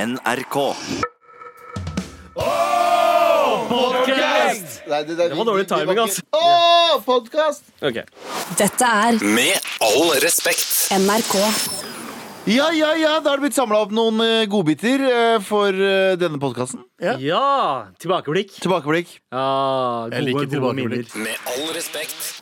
NRK. Nei, det, det, var dårlig timing, altså. Å, podkast! Ok. Dette er Med all respekt. NRK. Ja, ja, ja, da er det blitt samla opp noen eh, godbiter eh, for eh, denne podkasten. Ja. Ja! Tilbakeblikk. Tilbakeblikk. Ja, gode, Jeg liker gode minner. tilbakeblikk. Med all respekt.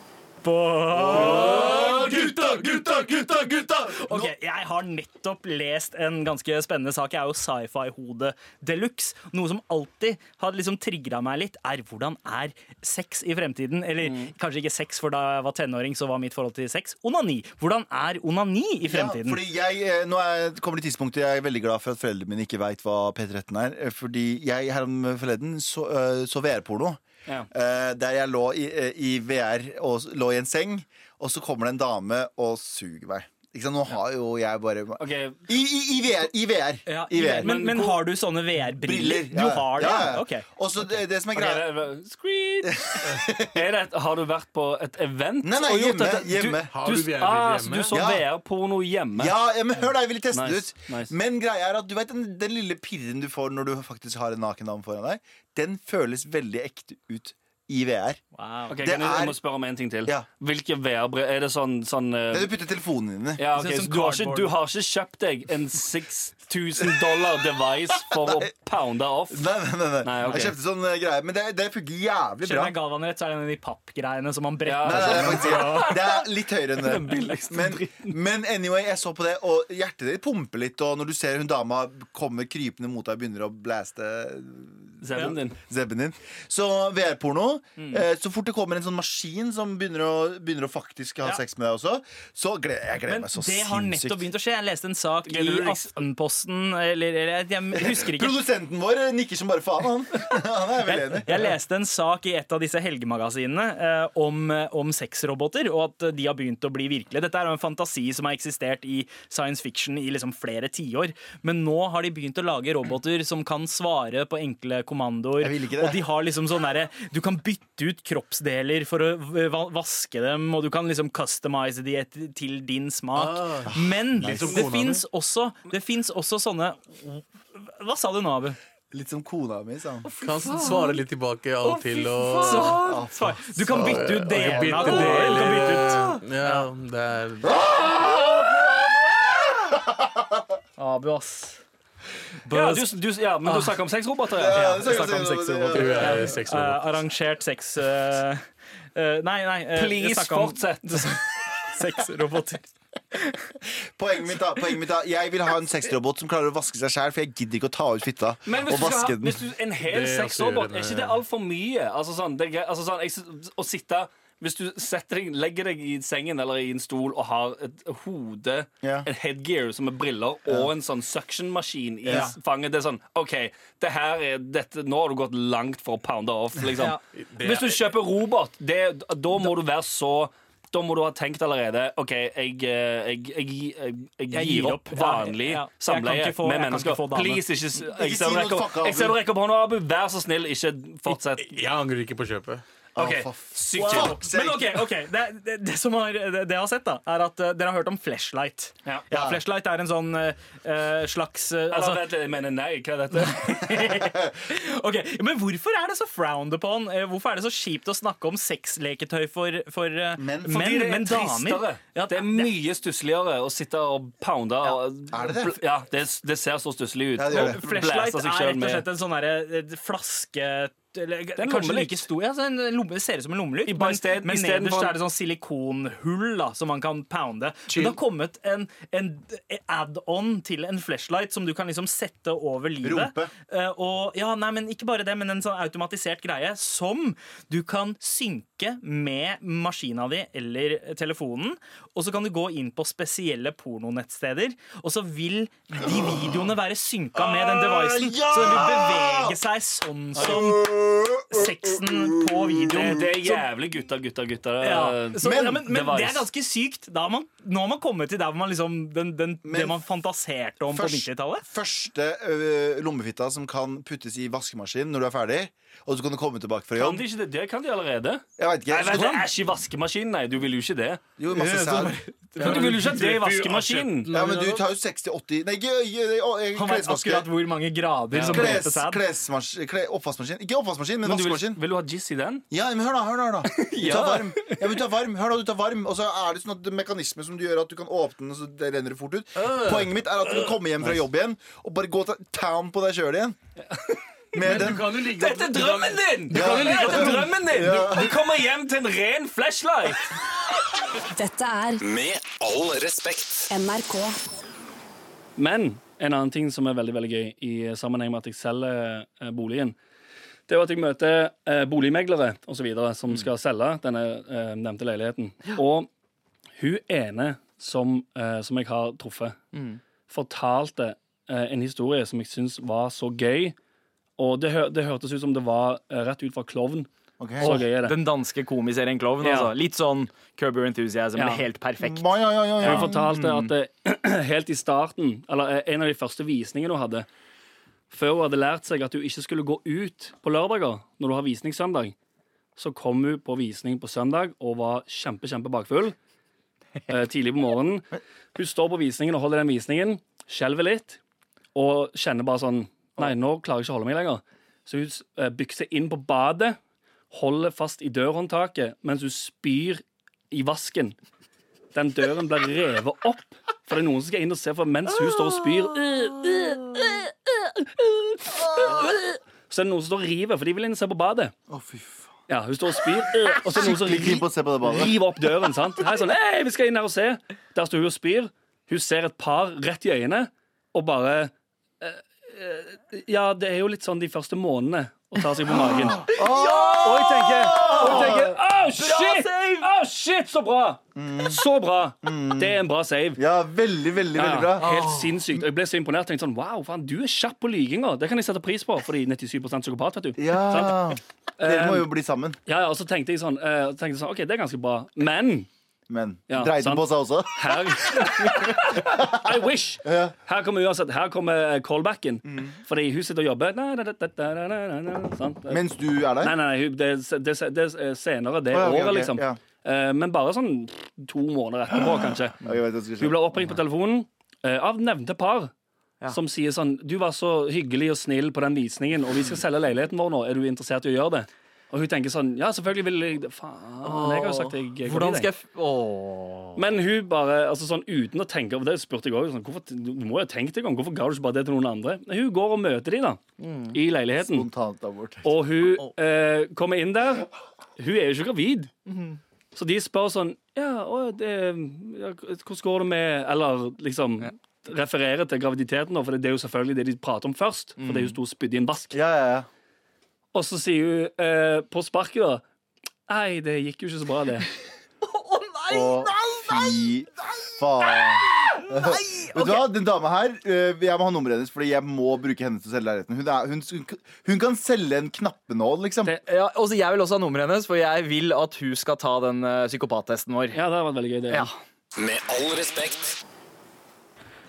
Gutta, gutta, gutta, gutta! Ok, Jeg har nettopp lest en ganske spennende sak. Jeg er jo sci-fi-hode de luxe. Noe som alltid har liksom trigga meg litt, er hvordan er sex i fremtiden? Eller Mm. kanskje ikke sex, for da jeg var tenåring, så var mitt forhold til sex onani. Hvordan er onani i fremtiden? Ja, fordi jeg, eh, nå er, kommer det tidspunktet jeg er veldig glad for at foreldrene mine ikke veit hva P13 er. eh, Fordi jeg her om forleden så, eh, så VR-porno. Ja. eh, der jeg lå i, eh, i VR og s- lå i en seng, og så kommer det en dame og suger meg. Ikke sant? Nå har jo jeg bare Ok. I, i, i VR! I VR. Ja, I VR. men, men har du sånne VR-briller? ja. Du har det? Ja, ja. Ok. Og så det, det som er Ok, greia det er- Screed. Er det, et- har du vært på et event? Nei, nei, og gjort hjemme, dette? hjemme. Du, Har du VR-briller ah, så hjemme? du så Ja. VR-porno hjemme? Ja, ja, men hør da, jeg ville teste Nice, det ut nice. Men greia er at du vet den, den lille pirren du får Når du faktisk har en naken dame foran deg Den føles veldig ekte ut i VR Wow. Ok, Det kan jeg, jeg er- må spørre om en ting til. Ja. Hvilke VR-briller Er det sånn, sånn eh, Det du putter telefonen inn i ja, ok, Det er så som du, har ikke, cardboard. du har ikke kjøpt deg en 6000 dollar device for å pounde off? Nei, nei, nei, nei. Nei, ok. Jeg kjøpte sånn eh, greie Men det, det fungerer jævlig Skjønner bra jeg Galvan rett, så er det en av de pappgreiene som man bretter. sånn, Nei, seg Ja. nei, det, med. er faktisk, det er litt høyere enn det. billigste Men, men anyway, jeg så på det, og hjertet ditt pumper litt. Og når du ser hun dama kommer krypende mot deg og begynner å blaste Zebben din. Zebben din. Så VR-porno. Eh, så fort det kommer en sånn maskin som begynner å, begynner å faktisk ha Ja. sex med deg også, så gleder jeg gleder Men meg så det har nettopp sinnssykt. begynt å skje. Jeg leste en sak i Gleder du deg? Aftenposten eller, eller Jeg husker ikke. Produsenten vår eh, nikker som bare faen, han. han er vel enig. Jeg leste en sak i et av disse helgemagasinene eh, om, om sexroboter, og at de har begynt å bli virkelige. Dette er jo en fantasi som har eksistert i science fiction i liksom flere tiår. Men nå har de begynt å lage roboter som kan svare på enkle kommandoer. Jeg vil ikke det. Og de har liksom sånn derre Du kan bytte ut kroppsdeler for å v- va- vaske dem, og du kan liksom customize de et, til din smak. Ah, Men som det kona di. fins også, det finnes også sånne Hva sa du nå, Abu? Litt som kona mi, sa han. Kan svare litt tilbake av og til og Svar. Du kan bytte ut DNA. bytte Du deler. kan bytte ut Ja, det er Abu, ass. Ja, du, du, ja, men du snakker om sexroboter? Ja. Ah. Ja, Ja. det vi snakker om sexroboter. Du er sexrobot. Eh, arrangert sex eh, eh, Nei, nei. eh, jeg Please, snakker om fortsett. Sexroboter. Poenget mitt, da. Poenget mitt da Jeg vil ha en sexrobot som klarer å vaske seg sjæl, for jeg gidder ikke å ta ut fitta Men hvis og du, skal, vaske ha- hvis den. du en hel Det er sexrobot, også er ikke irriterende. det altfor mye? Altså sånn, det er, greit- altså sånn jeg, sy- Å sitte Hvis du setter deg, legger deg i sengen eller i en stol og har et hode, Ja. et headgear som er briller, og en sånn suction-maskin i s- fanget, det er sånn OK, det her er dette, nå har du gått langt for å pounde off, liksom. Hvis du kjøper robot, det, da må du være så da må du ha tenkt allerede OK, jeg, eh, jeg, jeg, jeg, jeg, Jeg gir gir opp opp. Ja, vanlig ja. Jeg kan samleie ikke få- jeg kan med ikke mennesker. få dame. Please, ikke, s- jeg Ikke ser si du noe rekker fuck, Abu. jeg ser du rekker opp hånda, Abu. Vær så snill, ikke fortsett. Jeg angrer ikke på kjøpet. Ok, Å, for f- Sykt Wow. kjipt. Men ok, ok det, det, det som har, det, det jeg har sett, da er at eh, dere har hørt om flashlight. Ja. Flashlight er en sånn eh, slags eh, Altså, altså, vent litt, jeg mener nei. Hva er dette? Ok, Men hvorfor er det så frowned upon? Eh, Hvorfor er det så kjipt å snakke om sexleketøy for, for eh, Men- menn? Fordi det er men tristere. damer Ja, Det er mye stussligere å sitte og pounde. og- Er det det? Ja, det, det ser så stusslig ut. Ja, det gjør det. Flashlight er Blæser seg rett selv og slett med en sånn derre eh, flaske eller, en kanskje lommelykt. like stor, ja, så en lomme, Det ser ut som en lommelykt, bare men, sted- men i stedet nederst for- er det sånn silikonhull da, som man kan pounde. Men det har kommet en, en add-on til en flashlight som du kan liksom sette over livet. Rumpe. Eh, og, ja, nei, men ikke bare det, men en sånn automatisert greie som du kan synke med maskina di eller telefonen. Og så kan du gå inn på spesielle pornonettsteder, og så vil de videoene være synka med den devicen. Så den vil bevege seg sånn som sexen på video. Det er jævlig gutta, gutta, gutta. Ja, så, Men- men, ja, men, men det var- det er ganske sykt. Da har man, nå har man kommet til der hvor man liksom, den, den, det Men man fantaserte om på 90-tallet. første ø, lommefitta som kan puttes i vaskemaskinen når du er ferdig, og så kan du komme tilbake fra Kan jobb. de ikke det? Det kan de allerede. Jeg vet Nei, vet du, ikke. Æsj i vaskemaskinen. Nei, du vil jo ikke det. Jo, masse sæd. Men du vil jo ikke at det er i vaskemaskinen. Ja, men du tar jo 60-80 Nei, ikke ikke- ikke- Han vet klesvaske. akkurat hvor mange grader som ble Kles, til sæd. klesmas- kle, oppvaskmaskin. Ikke oppvaskmaskin, men, Men du vil, vaskemaskin. vil du ha jizz i den? Ja, men hør da, hør da, hør da. Du tar varm. Ja, men du tar varm. Hør da, du tar varm. Og så er det sånn at det er mekanisme som du gjør at du kan åpne den, og så det renner det fort ut. Poenget mitt er at du kan komme hjem fra jobb igjen og bare gå til town på deg sjøl igjen. Med den. kan jo ligge Dette er drømmen din! Du Ja. kan jo like at det er drømmen din! Du, du kommer hjem til en ren flashlight! Dette er Med all respekt. NRK. Men en annen ting som er veldig veldig gøy i sammenheng med at jeg selger eh, boligen, det er jo at jeg møter eh, boligmeglere og så videre, som skal selge denne eh, nevnte leiligheten. Og hun ene som, eh, som jeg har truffet, fortalte eh, en historie som jeg syns var så gøy. Og det, hø det hørtes ut som det var eh, rett ut fra klovn. Så gøy er det. Den danske komiserien Klovn. Ja. Altså. Litt sånn Curb Your Enthusiasm. Ja. men Helt perfekt. Mm. Ja, ja, ja, ja. Hun fortalte at eh, helt i starten, eller eh, en av de første visningene hun hadde, før hun hadde lært seg at hun ikke skulle gå ut på lørdager når du har visning søndag, så kom hun på visning på søndag og var kjempe, kjempe bakfull. eh, tidlig på morgenen. Hun står på visningen og holder den visningen, skjelver litt og kjenner bare sånn Nei, nå klarer jeg ikke å holde meg lenger. Så hun eh, bykser inn på badet, holder fast i dørhåndtaket mens hun spyr i vasken den døren blir revet opp. For det er noen som skal inn og se, for mens hun står og øh, spyr øh, Så er det noen som står og river, for de vil inn og se på badet. Å, fy faen. Ja, hun står og spyr, øh, og så er det noen som Skikkelig keen på å se på det ri- badet. river opp døren. sant? Her er sånn, Hei, vi skal inn her og se. Der står hun og spyr. Hun ser et par rett i øynene og bare eh, eh, Ja, det er jo litt sånn de første månedene å ta seg på magen. Og jeg tenker, og jeg tenker «Åh, shit! Åh, shit, så bra! Så bra! Det er en bra save. Ja, veldig, veldig, veldig bra. Ja, helt sinnssykt. Og jeg ble så imponert. tenkte sånn, wow, faen, Du er kjapp på lyginga. Det kan jeg sette pris på, fordi 97 psykopat, vet du. Sant? Um, Ja. Dere må jo bli sammen. Ja, ja, og så tenkte jeg sånn, eh, tenkte jeg sånn OK, det er ganske bra, men Men Ja, dreide den sant. på seg også? her I wish! Her kommer uansett, her kommer eh, callbacken. Mm. Fordi hun sitter og jobber. Na, na, na, na, na, na, na, na, sant? Nei, Mens du er der? nei, nei hun- det, er- det, er- det er senere det Å, ja, ok, året, ok, liksom. ja. Eh, men bare sånn to måneder etterpå, kanskje. Ja, jeg vet hva jeg Hun skal si. ble oppringt på telefonen eh, av nevnte par. Som sier sånn Du var så hyggelig og snill på den visningen, og vi skal selge leiligheten vår nå. Er du interessert i å gjøre det? Og hun tenker sånn Ja, selvfølgelig vil jeg det.» Faen, jeg har jo sagt jeg kan Hvordan bli skal jeg deg. f Åh. Men hun bare altså sånn uten å tenke over det, spurte jeg òg sånn, hvorfor- Du må jo ha tenkt deg om. Hvorfor ga du ikke bare det til noen andre? Men Hun går og møter de da, i leiligheten. Spontant abort. Og hun eh, kommer inn der. Hun er jo ikke gravid. Så de spør sånn ja, å, det, ja, Hvordan går det med Eller liksom refererer til graviditeten, da, for det er jo selvfølgelig det de prater om først. For det er jo stor spydd i en vask. Ja, ja, ja. Og så sier hun eh, på sparket da Nei, det gikk jo ikke så bra, det. Og fy faen. Vet du hva, Den dama her øh, Jeg må ha nummeret hennes, Fordi jeg må bruke henne til å selge leiligheten. Hun, er, hun, hun kan selge en knappenål, liksom. Det- Ja, også jeg vil også ha nummeret hennes, for jeg vil at hun skal ta den eh, psykopattesten vår. Ja, det har vært veldig gøy, det. Ja. Med all respekt.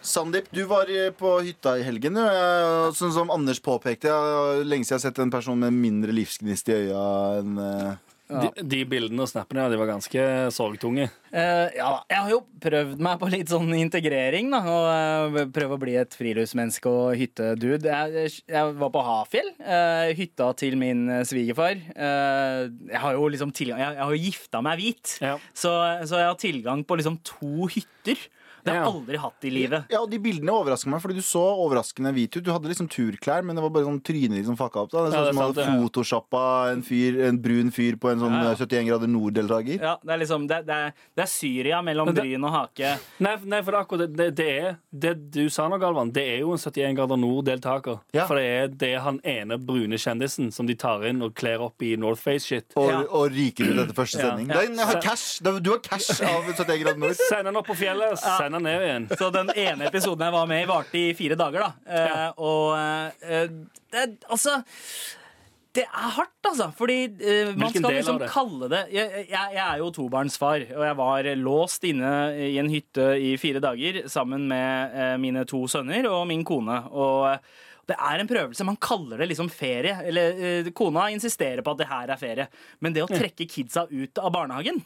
Sandeep, du var øh, på hytta i helgen. du. Jeg- Sånn som Anders påpekte, jeg- lenge siden jeg har sett en person med mindre livsgnist i øya enn øh, De, de bildene og snappene ja, de var ganske sorgtunge. Eh, ja, jeg har jo prøvd meg på litt sånn integrering, da. Og eh, prøve å bli et friluftsmenneske og hyttedude. Jeg, jeg var på Hafjell. eh, hytta til min eh, svigerfar. Eh, jeg har jo liksom tilgang Jeg, jeg har jo gifta meg hvit, Ja. så, så jeg har tilgang på liksom to hytter. Det har jeg Ja. aldri hatt i livet. Ja, og De bildene overrasker meg, fordi du så overraskende hvit ut. Du hadde liksom turklær, men det var bare sånn trynet ditt som fucka opp. da Det så Ja, ut som det er du sant, hadde det, ja. photoshoppa en, fyr, en brun fyr på en sånn øh, 71 grader nord-deltaker. Ja, det er liksom Det, det, er, det er Syria mellom Men det- bryn og hake. Nei, nei, for det er akkurat det, det, det er Det du sa nå, Galvan, det er jo en 71 grader nord-deltaker. Ja. For det er, det er han ene brune kjendisen som de tar inn og kler opp i Northface-shit. og, Ja. og ryker ut etter første Ja. sending. Den har cash. Den- Du har cash av 71 grader nord. Send han opp på fjellet, send han ned igjen. Så den ene episoden jeg var med i, varte i fire dager, da. Eh, Og eh, eh, det, altså Det er hardt, altså. Fordi eh, man Hvilken skal del liksom av det? kalle det jeg, jeg, jeg er jo tobarnsfar, og jeg var låst inne i en hytte i fire dager sammen med eh, mine to sønner og min kone. Og eh, det er en prøvelse. Man kaller det liksom ferie. Eller eh, kona insisterer på at det her er ferie. Men det å trekke kidsa ut av barnehagen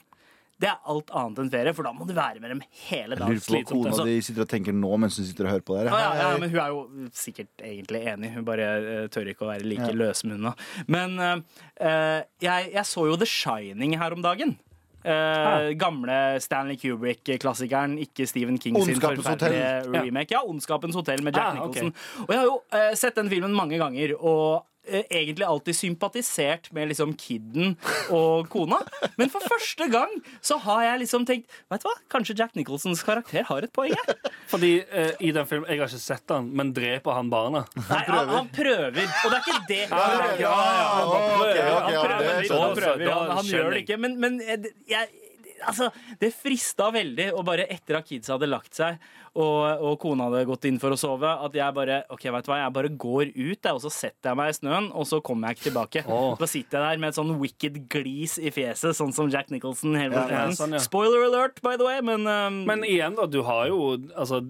det er alt annet enn ferie, for da må du være med dem hele dagen. Lurer på hva Slitsomt, kona altså. di sitter og tenker nå mens hun sitter og hører på dere. Ja, ja, ja, men hun er jo sikkert egentlig enig. Hun bare eh, tør ikke å være like løsmunna. Men eh, eh, jeg, jeg så jo The Shining her om dagen. Eh, gamle Stanley Kubrick-klassikeren, ikke Stephen King sin Ondskapens forferdelige remake. Ja, Ondskapens hotell med Jack Ah, ok. Nicholson. Og jeg har jo eh, sett den filmen mange ganger. og eh, Egentlig alltid sympatisert med liksom kidden og kona. Men for første gang så har jeg liksom tenkt Vet du hva, kanskje Jack Nicholsons karakter har et poeng her. Fordi eh, i den filmen, Jeg har ikke sett den, men dreper han barna? Nei, han, han prøver. Og det er ikke det. Ja, ja, ja, ja, ok, ok, ja, Han prøver det litt, skjønner han Han prøver, prøver, han, han skjønner gjør det jeg. ikke. Men, men eh, det- jeg Altså, Det frista veldig, og bare etter at kidsa hadde lagt seg og, og kona hadde gått inn for å sove, at jeg bare ok, vet du hva, jeg bare går ut jeg, og så setter jeg meg i snøen, og så kommer jeg ikke tilbake. Da sitter jeg der med et sånn wicked glis i fjeset, sånn som Jack Nicholson. Hele ja, tiden. sånn, ja. Spoiler alert, by the way, men, um, Men igjen, da. Du har jo altså,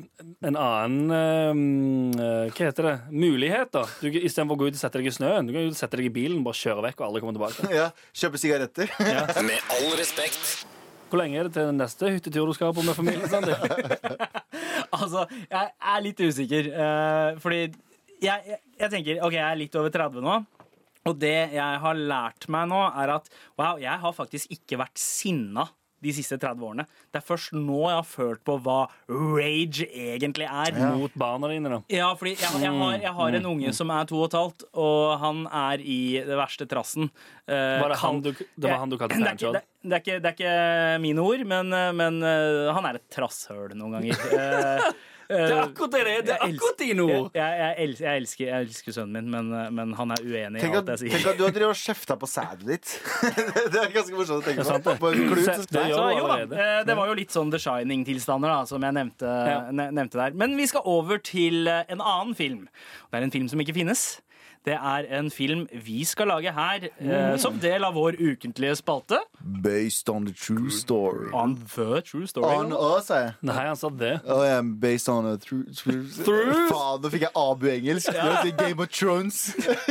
en annen eh, Hva heter det? Mulighet, da. Du, istedenfor å gå ut og sette deg i snøen. Du kan jo sette deg i bilen, bare kjøre vekk og aldri komme tilbake. Ja, Kjøpe sigaretter. Med all respekt. Hvor lenge er det til den neste hyttetur du skal på med familien? Sandy? Altså, jeg er litt usikker. eh, fordi jeg, jeg, jeg tenker OK, jeg er litt over 30 nå. Og det jeg har lært meg nå, er at wow, jeg har faktisk ikke vært sinna de siste 30 årene. Det er først nå jeg har følt på hva rage egentlig er. Mot barna dine, da. Ja, fordi jeg, jeg, har, jeg har en unge som er to og et halvt, og han er i det verste trassen. Eh, Var det, han kan- du, det var han du kalte det er, ikke, fanshot? det, det, er ikke, det er ikke mine ord, men, men eh, han er et trasshøl noen ganger. Eh, Det er akkurat det det er! Det er jeg elsker- akkurat dine jeg, ord! jeg, jeg, elsker, jeg, elsker, jeg elsker sønnen min, men, eh, men han er uenig i Tenk at, alt jeg sier. tenk at du har drevet og kjefta på sædet ditt. det er ganske morsomt å tenke på. På en klut. så- Det Nei, gjør så, du jo da, allerede. eh, det var jo litt sånn The Shining-tilstander, da, som jeg nevnte, ne nevnte der. Men vi skal over til eh, en annen film. Det er en film som ikke finnes. Det er en film vi skal lage her eh, Mm. som del av vår ukentlige spalte. Based on the true story. On the true story. On us, sa Mm. jeg. Nei, han sa det. Oh, yeah, based on a true, true, Faen, nå fikk jeg abu-engelsk. Det er Game of Thrones.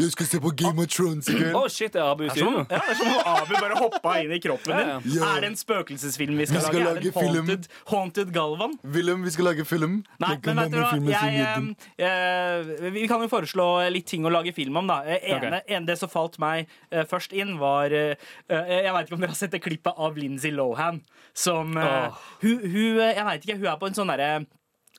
Jeg skal se på Game of Thrones i Å, kveld. shit, det sånn? er Abu i Som, studio. ja, det er som om Abu bare hoppa inn i kroppen din. Ja, ja. Er det en spøkelsesfilm vi skal, Vi skal lage? Er lage det en film. haunted, haunted Galvan? Willem, vi skal lage film. Nei, men vet du hva? Jeg, eh, eh, vi kan jo foreslå litt ting å lage film om, da. Eh, Ene, en, det som falt meg eh, først inn, var eh, eh, Jeg veit ikke om dere har sett det klippet av Lindsay Lohan som eh, Åh. hun, hun, eh, Jeg vet ikke, hun er på en sånn derre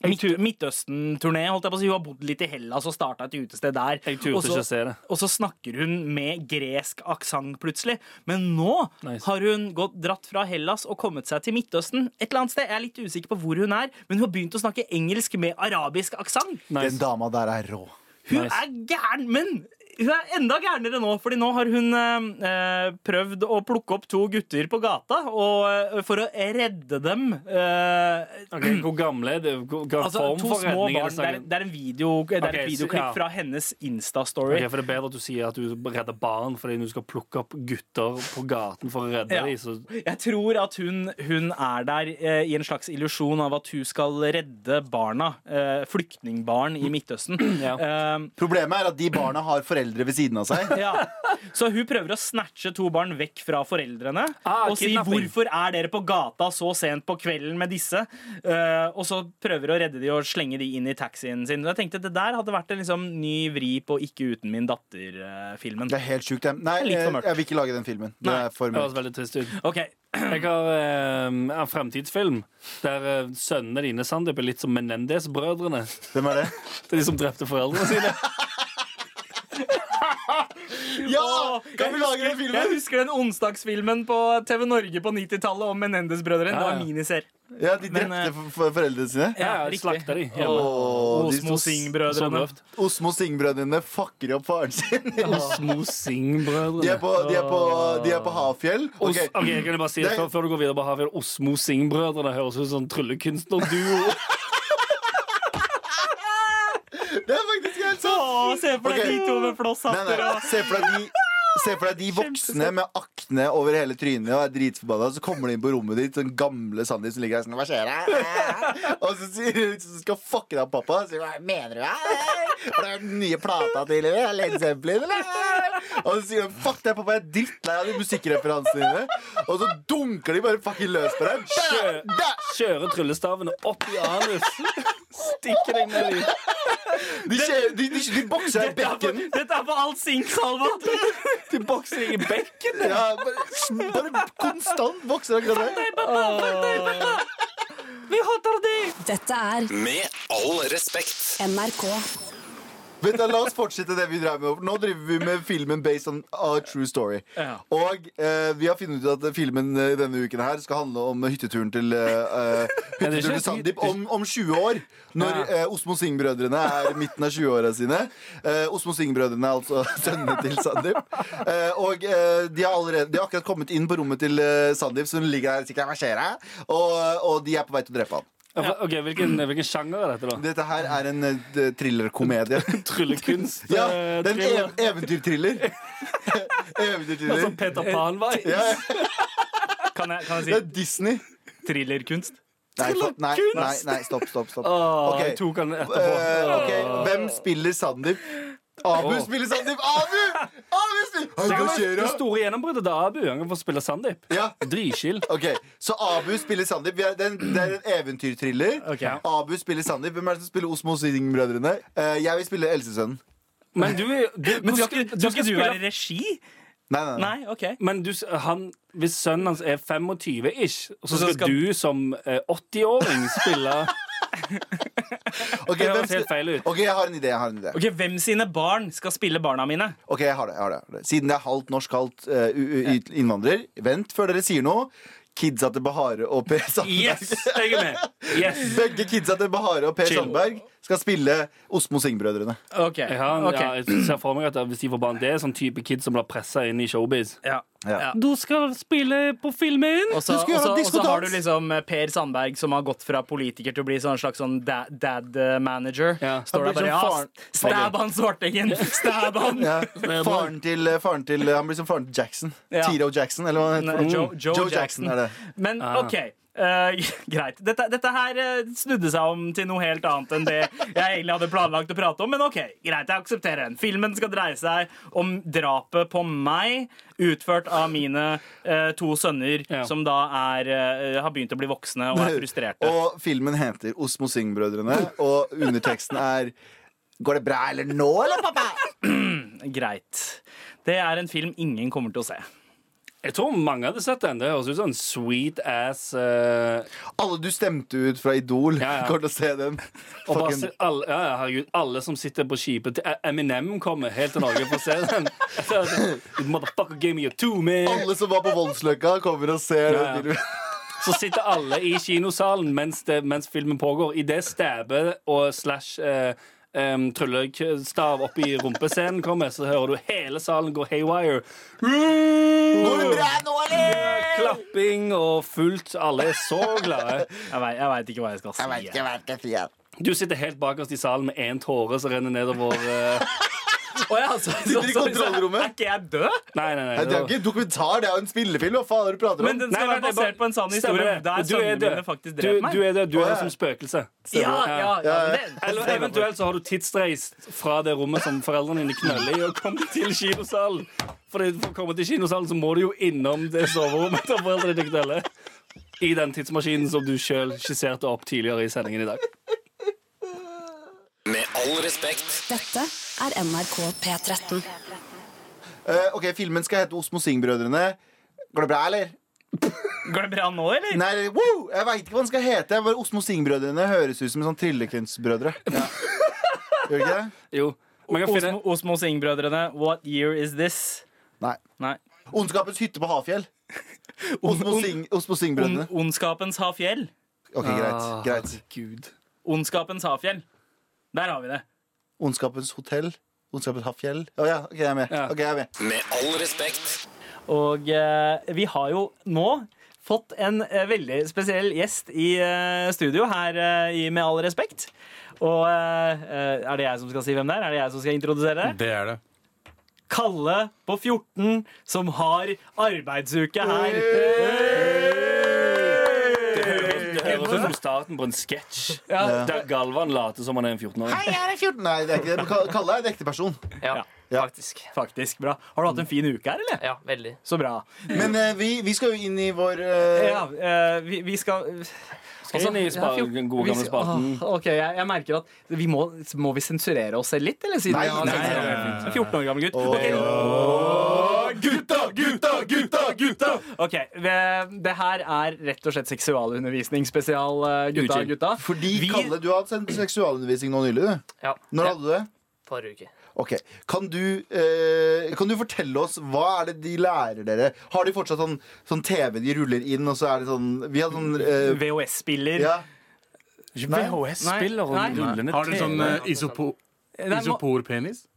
Midt, Midtøsten-turné. holdt jeg på å si Hun har bodd litt i Hellas og starta et utested der. Jeg turte Og så- ikke å se det. og så snakker hun med gresk aksent plutselig. Men nå Nice. har hun gått, dratt fra Hellas og kommet seg til Midtøsten. Et eller annet sted, Jeg er litt usikker på hvor hun er, men hun har begynt å snakke engelsk med arabisk aksent. Den dama der er rå. Hun Nice. er gæren, men hun er enda gærnere nå, fordi nå har hun eh, eh, prøvd å plukke opp to gutter på gata og, eh, for å redde dem. Eh, Ok, hvor gamle er det? Hvor, hva altså, form to for små redning er det barn. Det er, snakk om? det er, en video, det er Ok, et så- videoklipp ja. fra hennes Insta-story. Ok, for Det er bedre at du sier at du redder barn fordi du skal plukke opp gutter på gaten for å redde Ja. dem. Så Jeg tror at hun, hun er der eh, i en slags illusjon av at hun skal redde barna, eh, flyktningbarn i Midtøsten. Eh, Problemet er at de barna har foreldre ved siden av seg. ja. Så hun prøver å snatche to barn vekk fra foreldrene Ah, og si kidnapping. 'hvorfor er dere på gata så sent på kvelden med disse?' Eh, og så prøver å redde de og slenge de inn i taxien sin. Og Jeg tenkte Det der hadde vært en liksom, ny vri på 'Ikke uten min eh, datter'-filmen. Det er helt sjukt. det. Nei, Det er litt for jeg, mørkt. jeg vil ikke lage den filmen. Det Nei. er for det høres mørkt. veldig trist ut. Ok, Jeg har eh, en fremtidsfilm der eh, sønnene dine Sandeep, er litt som Menendez-brødrene. Hvem er det? Det er de som drepte foreldrene sine. Ja! Åh, Kan vi lage den Jeg filmen? husker den onsdagsfilmen på TV Norge på 90-tallet om Menendez-brødrene. Det var Ja, ja. miniser. Ja, De Men, eh, drepte for- for foreldrene sine. Ja, riktig. Slakta de hjemme. Sånn Åh, de Osmo sto- Så Sing-brødrene. drøft. Osmo Sing-brødrene fucker opp faren sin. Osmo De er Sing-brødrene. på, de er på, de er på Hafjell. Os- Ok. ok, kan jeg bare si det Det- før, før du går videre på Havjell? Osmo Sing-brødrene høres ut som en tryllekunstnerduo. Det er faktisk helt sant! Å, se for deg Ok. de to med Nei, flosshatter nei, og se for deg de Se for deg de voksne med akne over hele trynet og er dritforbanna. Så kommer de inn på rommet ditt, den gamle Sandeep som ligger der sånn Hva skjer? da?» Og så sier hun som skal fucke deg av pappa. Så sier hun, hva mener du? da? Har du hørt den nye plata til eller? Led Zeppelin, eller? Og så sier hun fuck deg, pappa, jeg er drittlei av de musikkreferansene dine. Og så dunker de bare fucking løs på deg. Da, da. Kjøre tryllestavene opp i anus. Stikke deg med dem. De, kjører, de, de, de bokser deg i bekken. Dette er på all sink, Salva! De bokser deg i bekken. Ja, bare, bare konstant bokser akkurat det. Vi hater deg! Dette er Med all respekt. NRK. Vet du, La oss fortsette det vi drev med. Nå driver vi med filmen based on a true story. Ja. Og eh, vi har funnet ut at filmen eh, denne uken her skal handle om hytteturen til eh, eh, Hytteturen til Sandeep om, om 20 år. Når eh, Osmo Singh-brødrene er i midten av 20-åra sine. Eh, Osmo Singh-brødrene er altså sønnene til Sandeep. Eh, og eh, de, har allerede, de har akkurat kommet inn på rommet til eh, Sandeep, som ligger der sikkert, hva skjer her? Og, og de er på vei til å drepe han. Ok, hvilken, hvilken sjanger er dette, da? Dette her er en eh, thrillerkomedie. Tryllekunst? Ja, eh, det er en thriller. ev eventyrthriller. eventyrthriller. Sånn Peter Pan-vei. Ja, ja. Kan jeg, kan Det jeg er Disney. si thrillerkunst? Nei, fa- nei, nei, nei stopp, stopp. stopp. Åh, Ok. Jeg tok han etterpå. Eh, ok, Hvem spiller Sandeep? Abu spiller Sandeep! Abu! Abu spiller Hei, Det hva var skjer det da? store gjennombruddet da Abu en gang får spille Sandeep. Ja, Dritskill. ok, Så Abu spiller Sandeep. Vi er- Det er en, det er en eventyrthriller. Abu spiller Sandeep. Hvem er det som spiller Osmo Singh-brødrene? Eh, jeg vil spille eldstesønnen. Men du, du, Men du skal, skal, du skal du spille være regi? Nei, nei, nei. Nei, OK. Men du, han, hvis sønnen hans er 25-ish, og så Så skal, skal- du som eh, 80-åring spille Ok, Det hvem høres skal... helt feil ut. ok, jeg har en idé. Jeg har en idé. Ok, Hvem sine barn skal spille barna mine? Ok, jeg har det, jeg har det, jeg har det. Siden det er halvt norsk, halvt eh, u- u- ut- innvandrer Vent før dere sier noe. Kidsa til Bahare og Per Sandberg. Yes, jeg er med! Yes. Begge kidsa til Bahare og Per Chill. Sandberg skal spille Osmo Singh-brødrene. Ok, Jeg, har, ok. ja, jeg ser for meg at hvis de får barn, det er sånn type kid som blir pressa inn i showbiz. Ja. Ja. Ja. Du skal spille på filmen! Og så, Du og skulle så, gjøre og så har du diskodans. liksom eh, Per Sandberg, som har gått fra politiker til å bli sånn slags sånn da- dad eh, manager. Ja. Står Han der blir som bare ja, faren- Stab han, svartingen! Stab han! Ja. Faren til, eh, faren til Han blir som faren til Jackson. Ja. Tiro Jackson, eller hva han heter Nei, for noe? Joe, Joe, Jackson. Mm. Jackson er det. Ah. Men OK. eh, greit. Dette, dette her eh, snudde seg om til noe helt annet enn det jeg egentlig hadde planlagt å prate om. Men OK, greit, jeg aksepterer den. Filmen skal dreie seg om drapet på meg utført av mine eh, to sønner, Ja. som da er, eh, har begynt å bli voksne og er frustrerte. Og filmen heter Osmo Singh-brødrene, og underteksten er Går det bra eller nå, eller, pappa? Greit. Det er en film ingen kommer til å se. Jeg tror mange hadde sett den. Det høres ut som en sweet ass eh, Alle du stemte ut fra Idol, Ja, ja. kommer til å se den. Og bare Fucking- se, alle, ja, ja, herregud, alle som sitter på skipet til eh, Eminem kommer helt til Norge for å se den. You Motherfucker gave me a two, man. Alle som var på Voldsløkka, kommer og ser Ja, ja. den filmen. Så sitter alle i kinosalen mens, det, mens filmen pågår. Idet stabbe og slash eh, em, tryllestav opp i rumpescenen kommer, så hører du hele salen gå haywire. Går det bra nå, eller? Klapping og fullt. Alle er så glade. Jeg vei- jeg veit ikke hva jeg skal si. Du sitter helt bakerst i salen med én tåre som renner nedover eh, Å ja, så- Sitter så- i så- så- kontrollrommet. Er ikke jeg død? Nei, nei, nei. Nei, det er jo ikke en dokumentar, det er jo en spillefilm. Hva faen er det du prater om? Men den skal Nei, nei, være det er basert bare- på en sann Stemmer historie det. der Du er sønnene død. mine faktisk Du, drev meg. du er det, du er Å, der ja. som spøkelse. ja, ja, ja, men det- Eller eventuelt så har du tidsreist fra det rommet som foreldrene dine kneller i, og kommet til kinosalen. Fordi For å komme til kinosalen så må du jo innom det soverommet til foreldrene dine kneller. I den tidsmaskinen som du sjøl skisserte opp tidligere i sendingen i dag. Med all respekt. Dette er NRK P13. Eh, ok, Filmen skal hete Osmo Singh-brødrene. Går det bra, eller? Går det bra nå, eller? Nei, eller- wow, jeg veit ikke hva den skal hete. jeg Bare Osmo Singh-brødrene høres ut som sånn tryllekunstbrødre. Gjør det ikke det? Jo. Man kan finne Osmo, Osmo Singh-brødrene, what year is this? Nei. Nei. Ondskapens hytte på Hafjell. Osmo Singh- Osmo On, Singh-brødrene. ondskapens havfjell. Ok, greit. greit Gud. Ondskapens havfjell. Der har vi det. Ondskapens hotell. Ondskapens Hafjell. Å ja, ok, jeg er med. Ok, jeg er med Med all respekt. Og eh, vi har jo nå fått en eh, veldig spesiell gjest i eh, studio her eh, i Med all respekt. Og eh, eh, er det jeg som skal si hvem det er? Er det jeg som skal introdusere? Det er det. Kalle på 14 som har arbeidsuke her. Det høres det høres ut som starten på en sketsj der Galvan later som han er en 14-åring. jeg er 14 Nei, det er ikke det. Ka- Kalle er en ekte person. Ja, Ja. faktisk. Faktisk bra. Har du hatt en fin uke her, eller? Ja, veldig. Så bra. Men eh, vi, vi skal jo inn i vår eh, Ja, eh, vi, vi skal Og sånn i spa- den gode gamle spalten. Mm. Åh, ok, jeg, jeg merker at vi må, må vi sensurere oss selv litt, eller? Siden Nei, vi har- nei, nei, En 14 år gammel gutt. Ok. Gutta, gutta, gutta, gutta! Ok, vi- Det her er rett og slett seksualundervisning spesial, eh, gutta. Utskill. gutta. Fordi, vi, Kalle, du har hatt sen- seksualundervisning nå nylig. du. Ja, Når hadde du det? forrige uke. Ok, kan du, eh, kan du fortelle oss hva er det de lærer dere? Har de fortsatt sånn, sånn TV de ruller inn, og så er det sånn Vi hadde sånn eh, VHS-spiller ja. VHS-spiller og Nei. rullende Har du sånn eh, isopo Nei, må- isoporpenis?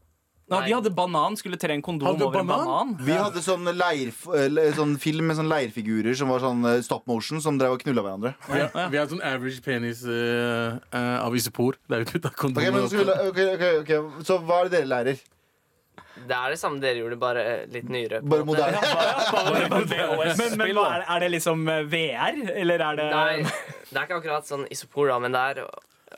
Nei, De hadde banan, skulle tre en kondom Hadde du over en banan? banan. Vi hadde sånn, leir, eller sånn film med sånn leirfigurer som var sånn eh, stop motion, som drev og knulla hverandre. Vi har, vi har sånn average penis eh, eh, av isopor. Det er jo ut av Ok, men, nå skal vi kondomer. la- ok, ok, ok. Så hva er det dere lærer? Det er det samme dere gjorde, bare eh, litt nyere. på en Bare måte. moderne? Men, men hva er, det- er det liksom eh, VR, eller er det Nei, det er ikke akkurat sånn isopor, da, men det er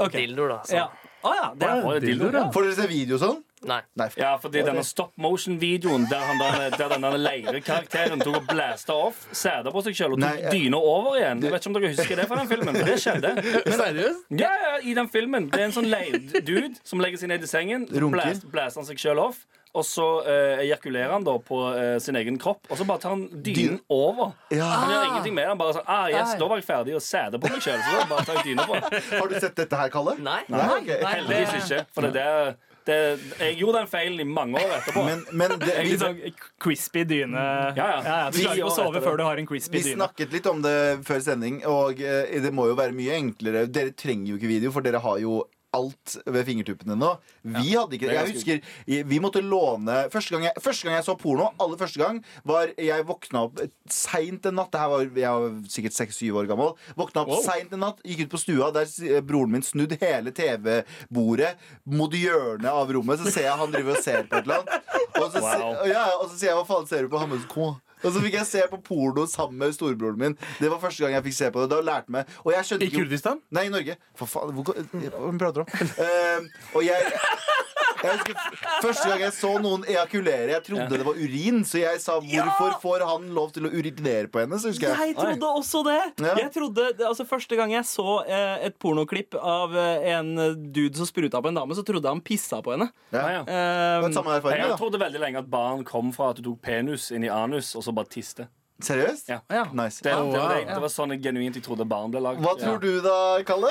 Ok. dildoer, da. Så. Ja. Å ja, det er, Og det er dildo, da. Får dere se video og sånn? Nei. Nei. Ja, fordi denne stop motion-videoen der, han der, der denne leirekarakteren tok og blæsta off sæda på seg sjøl og tok Nei, jeg- dyna over igjen. Jeg vet ikke om dere husker det fra den filmen. men Det skjedde. Seriøst? Ja, ja, i den filmen. Det er en sånn leirdude som legger seg ned i sengen, så Runker. blæs- blæser han seg sjøl off. Og så eh, ejakulerer han da på eh, sin egen kropp, og så bare tar han dynen over. Han gjør ingenting med det. Han bare sånn ah, yes, Da var jeg ferdig å sæde på meg sjøl. Så da bare tar jeg dyna på. Har du sett dette her, Kalle? Nei. ok. Heldigvis ikke. For det, er- det, jeg gjorde den feilen i mange år etterpå. Men, men det, Jeg vi, sånn liksom- sånn crispy dyne. ja, ja. Du klarer ikke å sove før du har en crispy vi dyne. snakket litt om det før sending, og eh, det må jo være mye enklere. Dere trenger jo ikke video, for dere har jo alt ved fingertuppene nå. Vi hadde ikke det. Jeg husker jeg- vi måtte låne Første gang jeg, første gang jeg så porno, aller første gang, var jeg våkna opp seint en natt. Det her var, jeg var sikkert 6-7 år gammel. Våkna opp seint en natt, gikk ut på stua, der s- eh, broren min snudd hele TV-bordet mot hjørnet av rommet. Så ser jeg han driver og ser på et eller annet. Og så, se- Wow. ja, og så sier jeg hva faen ser du på sånn, Hammer's K? Og så fikk jeg se på porno sammen med storebroren min. Det var første gang jeg fikk se på det. Da lærte jeg meg Og jeg skjønte I Kurdistan? Nei, i Norge. For faen, hvor Hva prater du om? Eh, og jeg jeg husker f- Første gang jeg så noen ejakulere, jeg trodde det var urin, så jeg sa 'hvorfor får han lov til å urinere på henne'? Så husker jeg Jeg trodde også det. Ja. Jeg trodde, altså Første gang jeg så eh, et pornoklipp av eh, en dude som spruta på en dame, så trodde jeg han pissa på henne. Ja, ja. Eh, Det var samme Jeg erfaring, har da. trodd veldig lenge at barn kom fra at du tok penis inn i anus og så bare tiste. Seriøst? Ja. Nice. Det, det, var wow. det, det var sånn jeg genuint jeg trodde barn ble lagd. Hva tror du da, Kalle?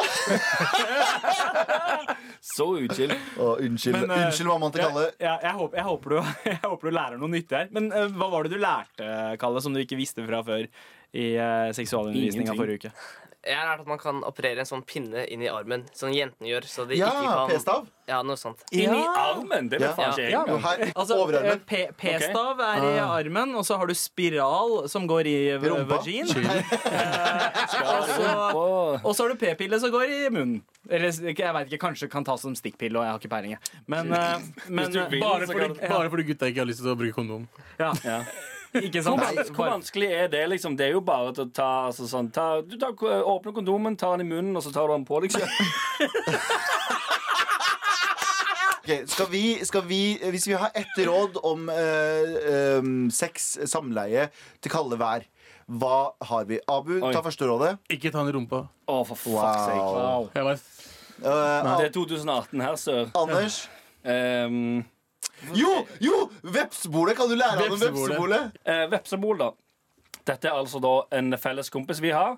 Så utskilt. Å, unnskyld, Men, eh, unnskyld mammaen til ja, Kalle. ja, jeg, håper, jeg, håper du, jeg håper du lærer noe nyttig her. Men eh, hva var det du lærte, Kalle, som du ikke visste fra før i uh, seksualundervisninga Ingenting. forrige uke? Jeg har lært at man kan operere en sånn pinne inn i armen, som jentene gjør. Så de ikke Ja, kan p-stav. Ja, noe sånt. Inn i armen! Det vet Ja. faen ikke jeg. Ja. Jo, engang. Her, Altså, overarmen. eh, P- P-stav er i armen, og så har du spiral som går i v- Ah. Rumpa. vagin. Eh, og Altså, så- Og så har du p-pille som går i munnen. Eller s- ikke- jeg vet ikke, kanskje kan tas som stikkpille, og jeg har ikke peiling. jeg. Men, eh, men du vil, bare så fordi, kan du- Bare fordi gutta ikke har lyst til å bruke kondom. ja, Ja. Ikke sant? Hvor Bare- vanskelig er det? liksom? Det er jo bare til å ta, altså, sånn, ta Du tar, åpner kondomen, tar den i munnen, og så tar du den på deg selv. Ok, skal vi, skal vi, hvis vi har ett råd om eh, em, sex, samleie, til kalde vær, hva har vi? Abu, Oi. ta første rådet. Ikke ta den i rumpa. Å, for fuck's sake. Jeg bare, Eh, Det er 2018 her sør. Anders? Um, Jo, jo! Vepsbolet! Kan du lære han om Vepsebolet. vepsebolet? Eh, vepsebol, da. Dette er altså da en felles kompis vi har,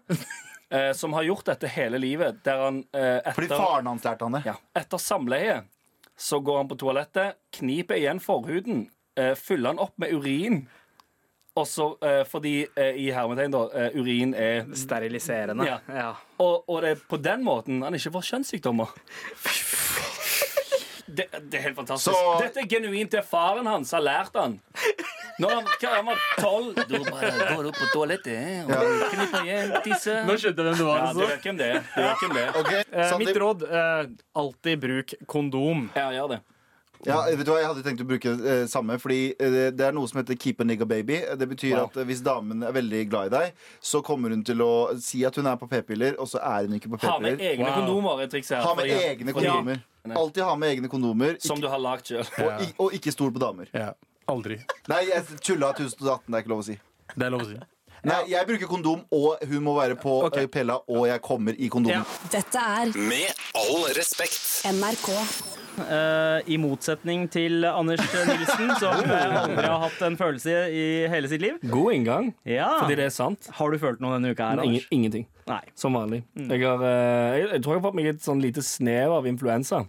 eh, som har gjort dette hele livet. Der han eh, Fordi etter, faren hans lærte han det. ja, etter samleie så går han på toalettet, kniper igjen forhuden, eh, fyller han opp med urin. Og så, eh, fordi eh, i hermetegn, da, eh, urin er Steriliserende. Ja. Ja. Og, og det er på den måten han ikke får kjønnssykdommer. Det, det er helt fantastisk. Så- Dette er genuint det faren hans har lært han. Når han, hva, han var tolv Da bare går du på toalettet eh, og knipper igjen, tisser Nå skjønte jeg hvem det var. Ja, du Altså. vet hvem det er. Du vet hvem det er. Ok, Eh, Sandeep. mitt råd eh, alltid bruk kondom. Ja, gjør det. Ja, vet du hva, Jeg hadde tenkt å bruke eh, samme, fordi eh, det er noe som heter keep a nigga baby. Det betyr at eh, hvis damen er veldig glad i deg, så kommer hun til å si at hun er på p-piller, og så er hun ikke på Ha med p-piller. egne kondomer er trikset her. Ha med fordi- egne fordi- kondomer. Alltid ha med egne kondomer, Som ikke, du har lagd sjøl. og, i- og ikke stol på damer. Ja, aldri. Nei, jeg tulla 1018, det er ikke lov å si. Det er lov å si. Nei, jeg bruker kondom, og hun må være på eh, pella, og jeg kommer i kondomen. Dette er Med all respekt. NRK. Eh, I motsetning til Anders Nilsen, som eh, aldri har hatt en følelse i hele sitt liv. God inngang, Ja. fordi det er sant. Har du følt noe denne uka her, Men ingen, Anders? ingenting. Nei. Som vanlig. Jeg, har, eh, jeg, jeg tror jeg har fått meg et sånn lite snev av influensa.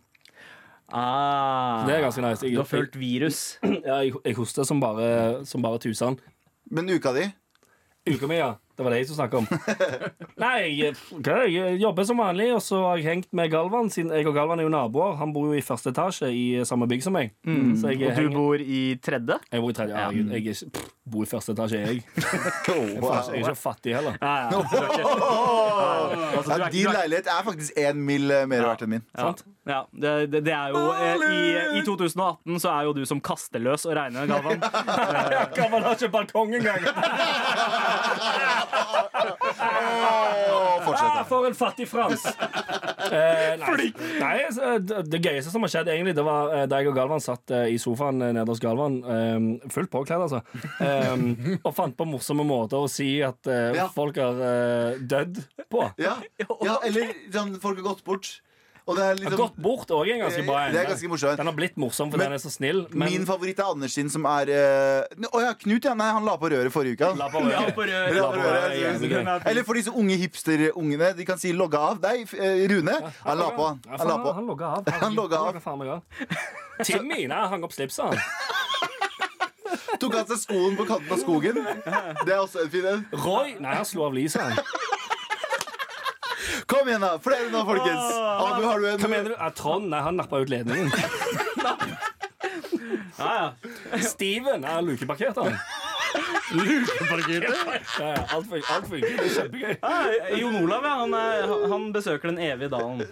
Ah, Det er ganske nice. Jeg, du har følt virus. ja, jeg, jeg hoster som bare, som bare tusen. Men uka di? Uka mi, ja. Det var det jeg skulle snakke om. Nei, jeg, hva, jeg jobber som vanlig, og så har jeg hengt med Galvan. Siden jeg og Galvan er jo naboer. Han bor jo i første etasje i samme bygg som meg. Så jeg, Mm. Og du henger- bor i tredje? jeg bor i tredje. Herregud, jeg er ikke, pff, bor i første etasje, jeg. Jeg er Wow. ikke- jeg er ikke fattig heller. Altså, Ja, din leilighet er faktisk én mil eh, mer verdt enn min. Sant? Ja, det, det, det er jo eh, i, I 2018 så er jo du som kasteløs å regne, Galvan. Eh, Galvan har ikke balkong engang! Åh, fortsett. Ah, for en fattig frans! Eh, nei, nei så, det, det gøyeste som har skjedd, egentlig, det var eh, da jeg og Galvan satt eh, i sofaen eh, nede hos Galvan, eh, fullt påkledd, altså, eh, og fant på morsomme måter å si at eh, Ja. folk har eh, dødd på. Ja, ja eller sånn, folk har gått bort. Og det er liksom, Gått bort òg er en ganske bra Det er ganske morsomt. Den har blitt morsom fordi Men- den er så snill, men Min favoritt er Anders sin, som er eh, Å ja, Knut, ja. Nei, han la på røret forrige uke. han. La på røret. La på røret, Ja, det er ja. gøy. Eller for disse unge hipsterungene. De kan si 'logga av'. Nei, f- eh, Rune. Han la på. Ja, Han la faen, på. han logga av. Han logga av. faen meg av. Timmy nei, han hang opp slipset, han. Tok av seg skoen på kanten av skogen. Det er også en fin en. Roy nei, han slo av lyset. han. Kom igjen, da. Flere nå, folkens. Ah. Abu, har du en Hva mener du? Ja, Trond, nei, han nappa ut ledningen. Steven er lukeparkert, han. Ja, ja, alt fun- alt funker. Det er kjempegøy. Nei, Jon Olav, ja, han, er- han besøker den evige dalen.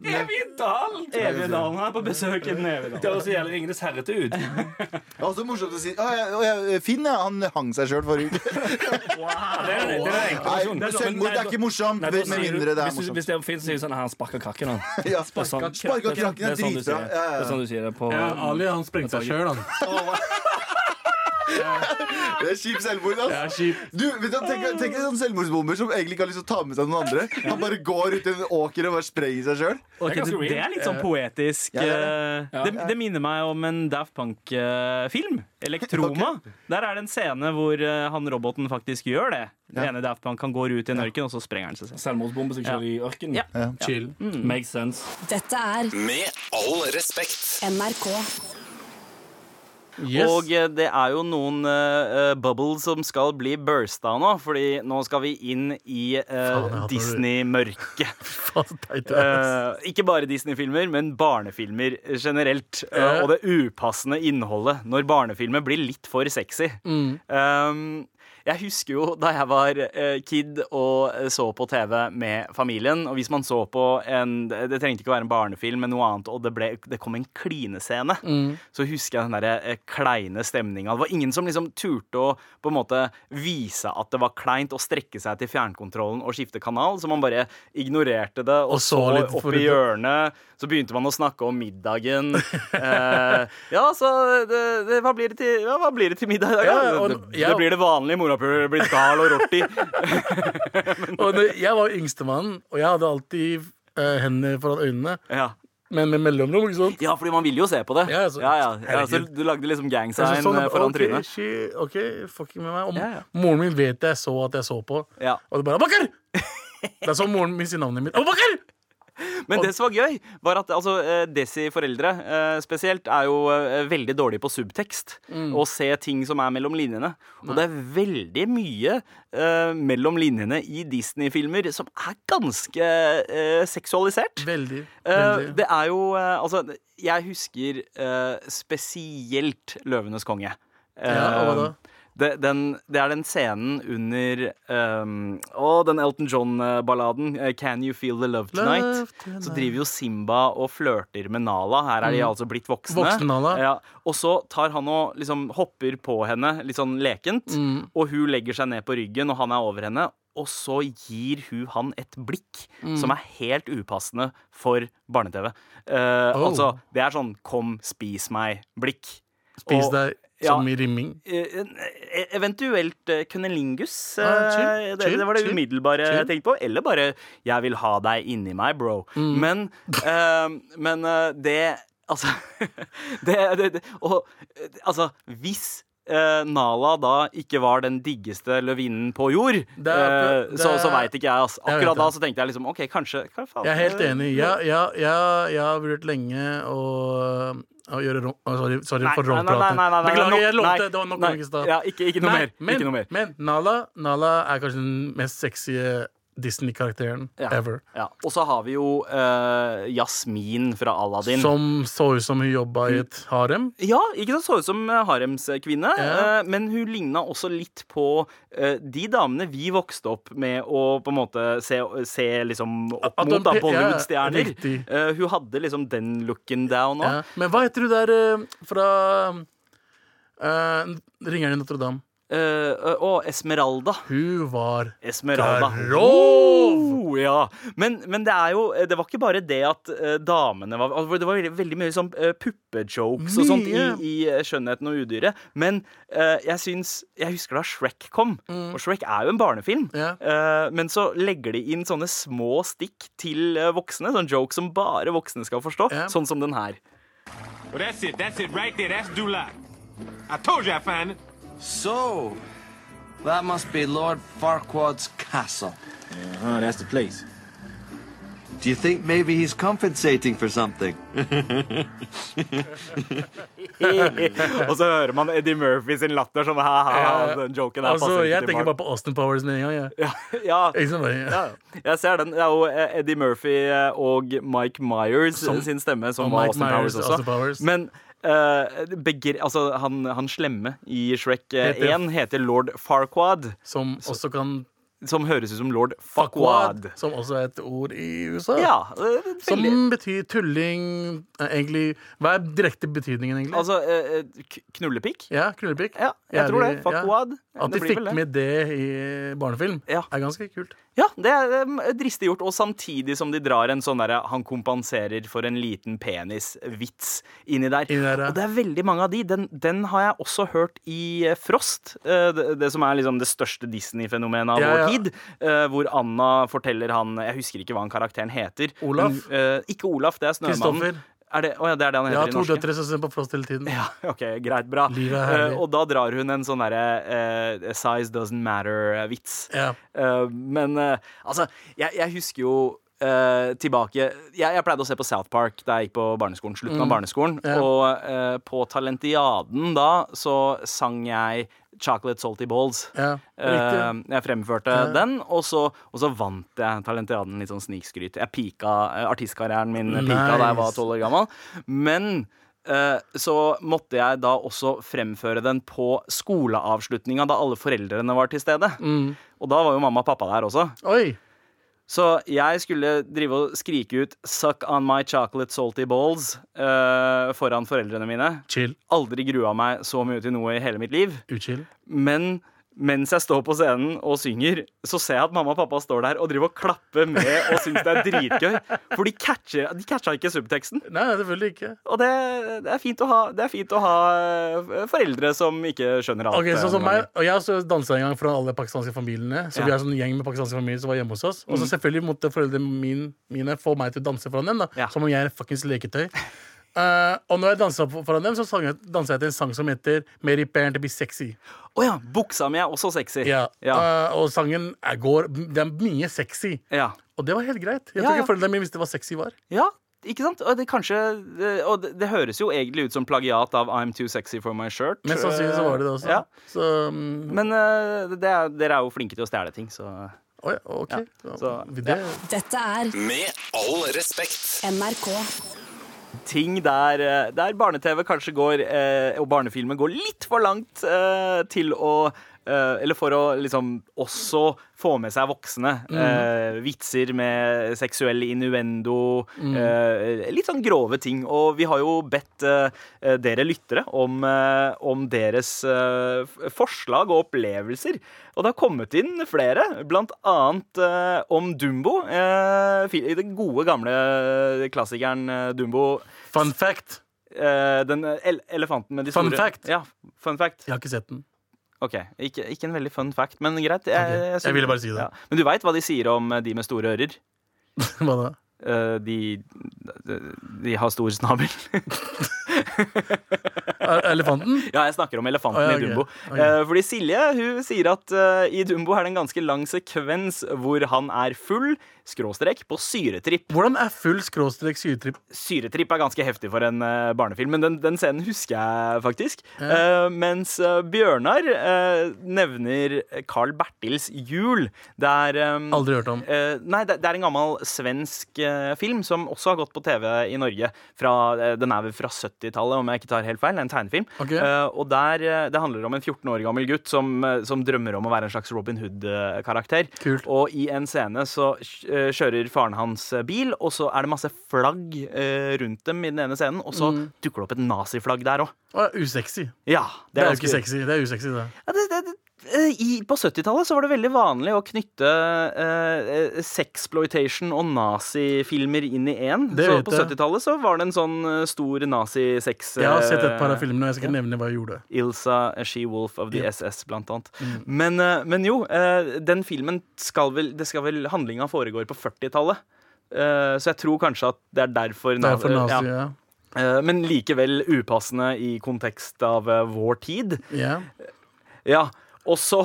Evig dal! Evige dalen er på besøk i den evige Det dalen. høres så jævlig Ringenes herre ut. Det er også morsomt å si «Å, ja, å, ja, Finn, ja. Han hang seg sjøl forrige uke. Det er, det er den enkle Nei, versjonen. Men- Selvmord nei, er sånn- ikke morsomt, nei, med da sier du- mindre det er hvis du- Hvis morsomt. det er fint, så sier du sånn Han sparka krakken, han. Ja. Det er sånn- Sparka krakken er det er sånn du dritbra. sier det. Ja, ja, Det er ja. sånn du sier det på Ja, Ali han sprengte seg sjøl, han. Det er kjip selvmord, ass. Det er kjipt. Du, vet du, tenk, tenk en sånn selvmordsbomber som egentlig ikke har lyst til å ta med seg noen andre. Han bare går ut i en åker og bare sprenger seg sjøl. Ok, ganske det, det weird. er litt sånn poetisk. Ja, det eh, det, det minner meg om en Daft Punk-film. eh, Elektroma. Der er det en scene hvor eh, han roboten faktisk gjør det. Den ene Daft Punk han går ut i en ørken, og så sprenger han seg selv. selvmordsbombe som kjører i ørkenen. Ja. Chill. Makes sense. Dette er Med all respekt. NRK. Yes. Og eh, det er jo noen eh, eh, bubbles som skal bli bursta nå, fordi nå skal vi inn i eh, hater det. Disney-mørket. Faen, så teit du er, ass. Eh, ikke bare Disney-filmer, men barnefilmer generelt. Eh, Ja. og det upassende innholdet når barnefilmer blir litt for sexy. Um, jeg husker jo da jeg var eh, kid og eh, så på TV med familien. Og hvis man så på en Det trengte ikke å være en barnefilm, men noe annet, og det, ble, det kom en klinescene, Mm. så husker jeg den derre eh, kleine stemninga. Det var ingen som liksom turte å på en måte vise at det var kleint, og strekke seg til fjernkontrollen og skifte kanal, så man bare ignorerte det. Og, Og så så, litt opp for- i hjørnet, så begynte man å snakke om middagen. Eh, ja, så det, det, hva, blir det til, ja, hva blir det til middag i dag? Ja, da? og- det, det, ja. det blir det vanlige. Morapuler blir dal og rorti. Og når- jeg var yngstemann, og jeg hadde alltid eh, hendene foran øynene, Ja. men med mellomrom, ikke sant? ja, fordi man vil jo se på det. Ja, altså, ja, ja. ja så herregud. du lagde liksom Jeg gangsign så sånn, eh, foran ok, trynet. shit, OK, fucking med meg. Og Ja, ja. moren min vet jeg så at jeg så på, Ja. og det bare Abakar! Det er sånn moren min sier navnet mitt. Abakar! Men det som var gøy, var at altså, eh, Desi-foreldre eh, spesielt er jo eh, veldig dårlige på subtekst. Og se ting som er mellom linjene. Og det er veldig mye eh, mellom linjene i Disney-filmer som er ganske eh, seksualisert. Veldig. Eh, veldig. det er jo eh, Altså, jeg husker eh, spesielt 'Løvenes konge'. Ja, og hva da? Eh, det, den, det er den scenen under ehm, Å, den Elton John-balladen. eh, 'Can You Feel The Love Tonight'. Love tonight. Så driver jo Simba og flørter med Nala. Her er de Mm. altså blitt voksne. Voksne Nala. Ja. Og så tar han og liksom hopper på henne litt sånn lekent. Mm. Og hun legger seg ned på ryggen, og han er over henne. Og så gir hun han et blikk Mm. som er helt upassende for barne-TV. Eh, Oh. Altså, det er sånn 'kom, spis meg'-blikk. Spis Og- deg ja. som i rimming. Eh, eh, Eventuelt eh, cunnilingus. eh, Ah, chill, det, chill, det var det chill, umiddelbare jeg chill. tenkte på. Eller bare 'jeg vil ha deg inni meg, bro'. Mm. Men, eh, men eh, det Altså, det, det, det Og eh, altså, hvis eh, Nala da ikke var den diggeste løvinnen på jord, er- eh, det så, er- så veit ikke jeg. Altså. Jeg vet Akkurat da det. så tenkte jeg liksom OK, kanskje hva faen, Jeg er helt eh, enig. Jeg, jeg, jeg, jeg har vurdert lenge å, å gjøre rom... å, Sorry, sorry Nei, for nei, nei, nei, rollpraten. nei, nei, nei, Beklager, nok- jeg nei, lovte. Det var nok nei, i stad. ja, ikke- ikke noe Nei, mer, ikke Men, noe mer. men Nala, Nala er kanskje den mest sexy eh, Disney-karakteren Ja. ever. Ja. Og så har vi jo eh, Jasmin fra Aladdin. Som så ut som hun jobba i Mm. et harem. Ja, ikke sant? Så ut som eh, haremskvinne. eh, Men hun ligna også litt på eh, de damene vi vokste opp med å på en måte se, se liksom opp At hun mot da, pe- ja, Bollywood-stjerner. riktig. Eh, hun hadde liksom den looken down òg. Ja. Men hva heter hun der eh, fra eh, Ringeren i Notre-Dame? Eh, og Esmeralda. Hun var Esmeralda. Garov! Oh, ja. men, men det er jo eh, Det var ikke bare det at eh, damene var altså, Det var veldig, veldig mye sånn eh, puppejokes og sånt i, Mye. i eh, Skjønnheten og udyret. Men eh, jeg syns Jeg husker da Shrek kom. Og Shrek er jo en barnefilm. Mm. Ja. Eh, men så legger de inn sånne små stikk til eh, voksne. Sånn jokes som bare voksne skal forstå. Ja. Sånn som den her. Well, that's it. That's it right there. That's Dulac. I told you I'd find it. So, that must be Lord Farquaad's castle. Uh-huh, that's the place. Do you think maybe he's compensating for something? og så hører man Eddie Murphy sin latter sånn ha-ha, den joken der altså, passer ikke jeg til tenker barn. bare på Austin Powers med en gang. jeg. Ja. Ikke sant, bare, ja. Jeg ser den. Det er jo eh, Eddie Murphy eh, og Mike Myers eh, Som- sin stemme, som og var Mike Austin Myers, Powers også. Austin Powers. Men eh, begre altså, han, han slemme i Shrek eh, Heter- 1 heter lord Farquad. Som også kan Som høres ut som lord Fuckwad, Fuckwad. som også er et ord i USA. Ja, eh, veldig- som betyr tulling eh, Egentlig, Hva er direkte betydningen, egentlig? Altså eh, eh, k- knullepikk? ja, Knullepikk? Ja, jeg tror det. Jævlig- ja. Fuckwad. At de Det blir fikk vel det. med det i barnefilm, Ja. er ganske kult. Ja, det er eh, dristig gjort. Og samtidig som de drar en sånn derre 'han kompenserer for en liten penis'-vits inni der. Og det er veldig mange av de. Den, den har jeg også hørt i eh, Frost. eh, Det, det som er liksom det største Disney-fenomenet av Ja, ja. vår tid. eh, Hvor Anna forteller han Jeg husker ikke hva han karakteren heter. Olaf? Men, eh, ikke Olaf, det er Snømannen. Kristoffer. Er det, å ja, det er det han Jeg heter har i to norske. døtre som ser på Frost hele tiden. Ok, greit, bra. Livet er herlig. Eh, og da drar hun en sånn derre eh, size doesn't matter-vits. Ja. men eh, altså, jeg, jeg husker jo eh, tilbake jeg, jeg pleide å se på South Park da jeg gikk på barneskolen. Slutten Mm. av barneskolen. Ja. Og eh, på Talentiaden da så sang jeg Chocolate Salty Balls. Ja, Eh, riktig. jeg fremførte Ja. den, og så, og så vant jeg Talentiaden litt sånn snikskryt. Jeg pika eh, artistkarrieren min pika da jeg var Nice. tolv år gammel. Men eh, så måtte jeg da også fremføre den på skoleavslutninga, da alle foreldrene var til stede. Mm. Og da var jo mamma og pappa der også. Oi! Så jeg skulle drive og skrike ut 'Suck on my chocolate salty balls' eh, foran foreldrene mine. Chill. Aldri grua meg så mye til noe i hele mitt liv. Uchill. Men mens jeg står på scenen og synger, så ser jeg at mamma og pappa står der og driver og klapper med og syns det er dritgøy. For de catcher- de catcha ikke subteksten. Nei, selvfølgelig ikke. Og det, det, er fint å ha, det er fint å ha eh, foreldre som ikke skjønner alt. Ok, eh, sånn som noen meg, ganger. og Jeg også dansa en gang fra alle pakistanske familiene. Så Ja. Mm. Vi er en sånn gjeng med pakistanske familier som var hjemme hos oss. Og så selvfølgelig måtte foreldrene min, mine få meg til å danse foran dem. da Som om jeg er fuckings leketøy. Eh, og når jeg dansa for- foran dem, så sang jeg, dansa jeg til en sang som heter Mary Parent to be sexy. Å ja, buksa mi er også sexy. Ja, Ja. eh, Og sangen er, går Det er mye sexy. Ja. Og det var helt greit. Jeg Ja, tror ja. ikke foreldrene mine visste hva sexy var. Ja, ikke sant? Og det, kanskje, det- og det, det høres jo egentlig ut som plagiat av I'm too sexy for my shirt. Mest sannsynlig så var det det også. Ja. Så, mm, Men eh, det er, dere er jo flinke til å stjele ting, så Å ja, ok. Ja, så- det, Dette er Med all respekt. NRK. ting der, eh, der barne-TV kanskje går, eh, og barnefilmer går litt for langt eh, til å eh, Eller for å liksom også få med seg voksne. Mm. Eh, vitser med seksuell innuendo. Mm. eh, litt sånn grove ting. Og vi har jo bedt eh, eh, dere lyttere om, eh, om deres eh, f- forslag og opplevelser. Og det har kommet inn flere, blant annet eh, om Dumbo. eh, fi- den gode, gamle klassikeren eh, Dumbo. Fun fact. den eh, ele elefanten med de Fun store fact. Ja, fun fact. Jeg har ikke sett den. Ok, ikke, ikke en veldig fun fact, men greit. Jeg, jeg synes- ville bare si det. Men du veit hva de sier om eh, de med store ører? Hva da? Eh, de, de, de har stor snabel. elefanten? Ja, jeg snakker om elefanten Å, ja, ok. i Dumbo. Ok. Eh, fordi Silje hun sier at eh, i Dumbo er det en ganske lang sekvens hvor han er full, skråstrek, på syretripp. Hvordan er full skråstrek syretripp? Syretripp er ganske heftig for en eh, barnefilm, men den, den scenen husker jeg faktisk. Ja. Eh, mens eh, Bjørnar eh, nevner Carl Bertils jul. Det er eh, Aldri hørt om. Eh, nei, det, det er en gammel svensk eh, film som også har gått på TV i Norge. Fra, eh, den er vel fra 70-tallet, om jeg ikke tar helt feil. En tegnefilm. Ok. Eh, og der, eh, Det handler om en 14 år gammel gutt som, eh, som drømmer om å være en slags Robin Hood-karakter. Og i en scene så eh, kjører faren hans eh, bil, og så er det masse flagg eh, rundt dem i den ene scenen, og så Mm. dukker det opp et naziflagg der òg. Å, usexy. Ja, Det er jo ganske- ikke sexy. Det er usexy, det. ja, det, det, det, eh, i, på 70-tallet så var det veldig vanlig å knytte eh, eh, sexploitation og nazifilmer inn i én. Det Så vet på jeg. 70-tallet så var det en sånn eh, stor nazisex Jeg har sett et par eh, av filmene, og jeg skal ikke nevne hva jeg gjorde. Ilsa eh, She-Wolf of the Ja. SS, blant annet. Mm. Men, eh, men jo, eh, den filmen skal vel, det skal vel Handlinga foregår på 40-tallet. Eh, Så jeg tror kanskje at det er derfor na- Derfor nazi, eh, ja. Eh, Men likevel upassende i kontekst av eh, vår tid. Ja. Ja, og så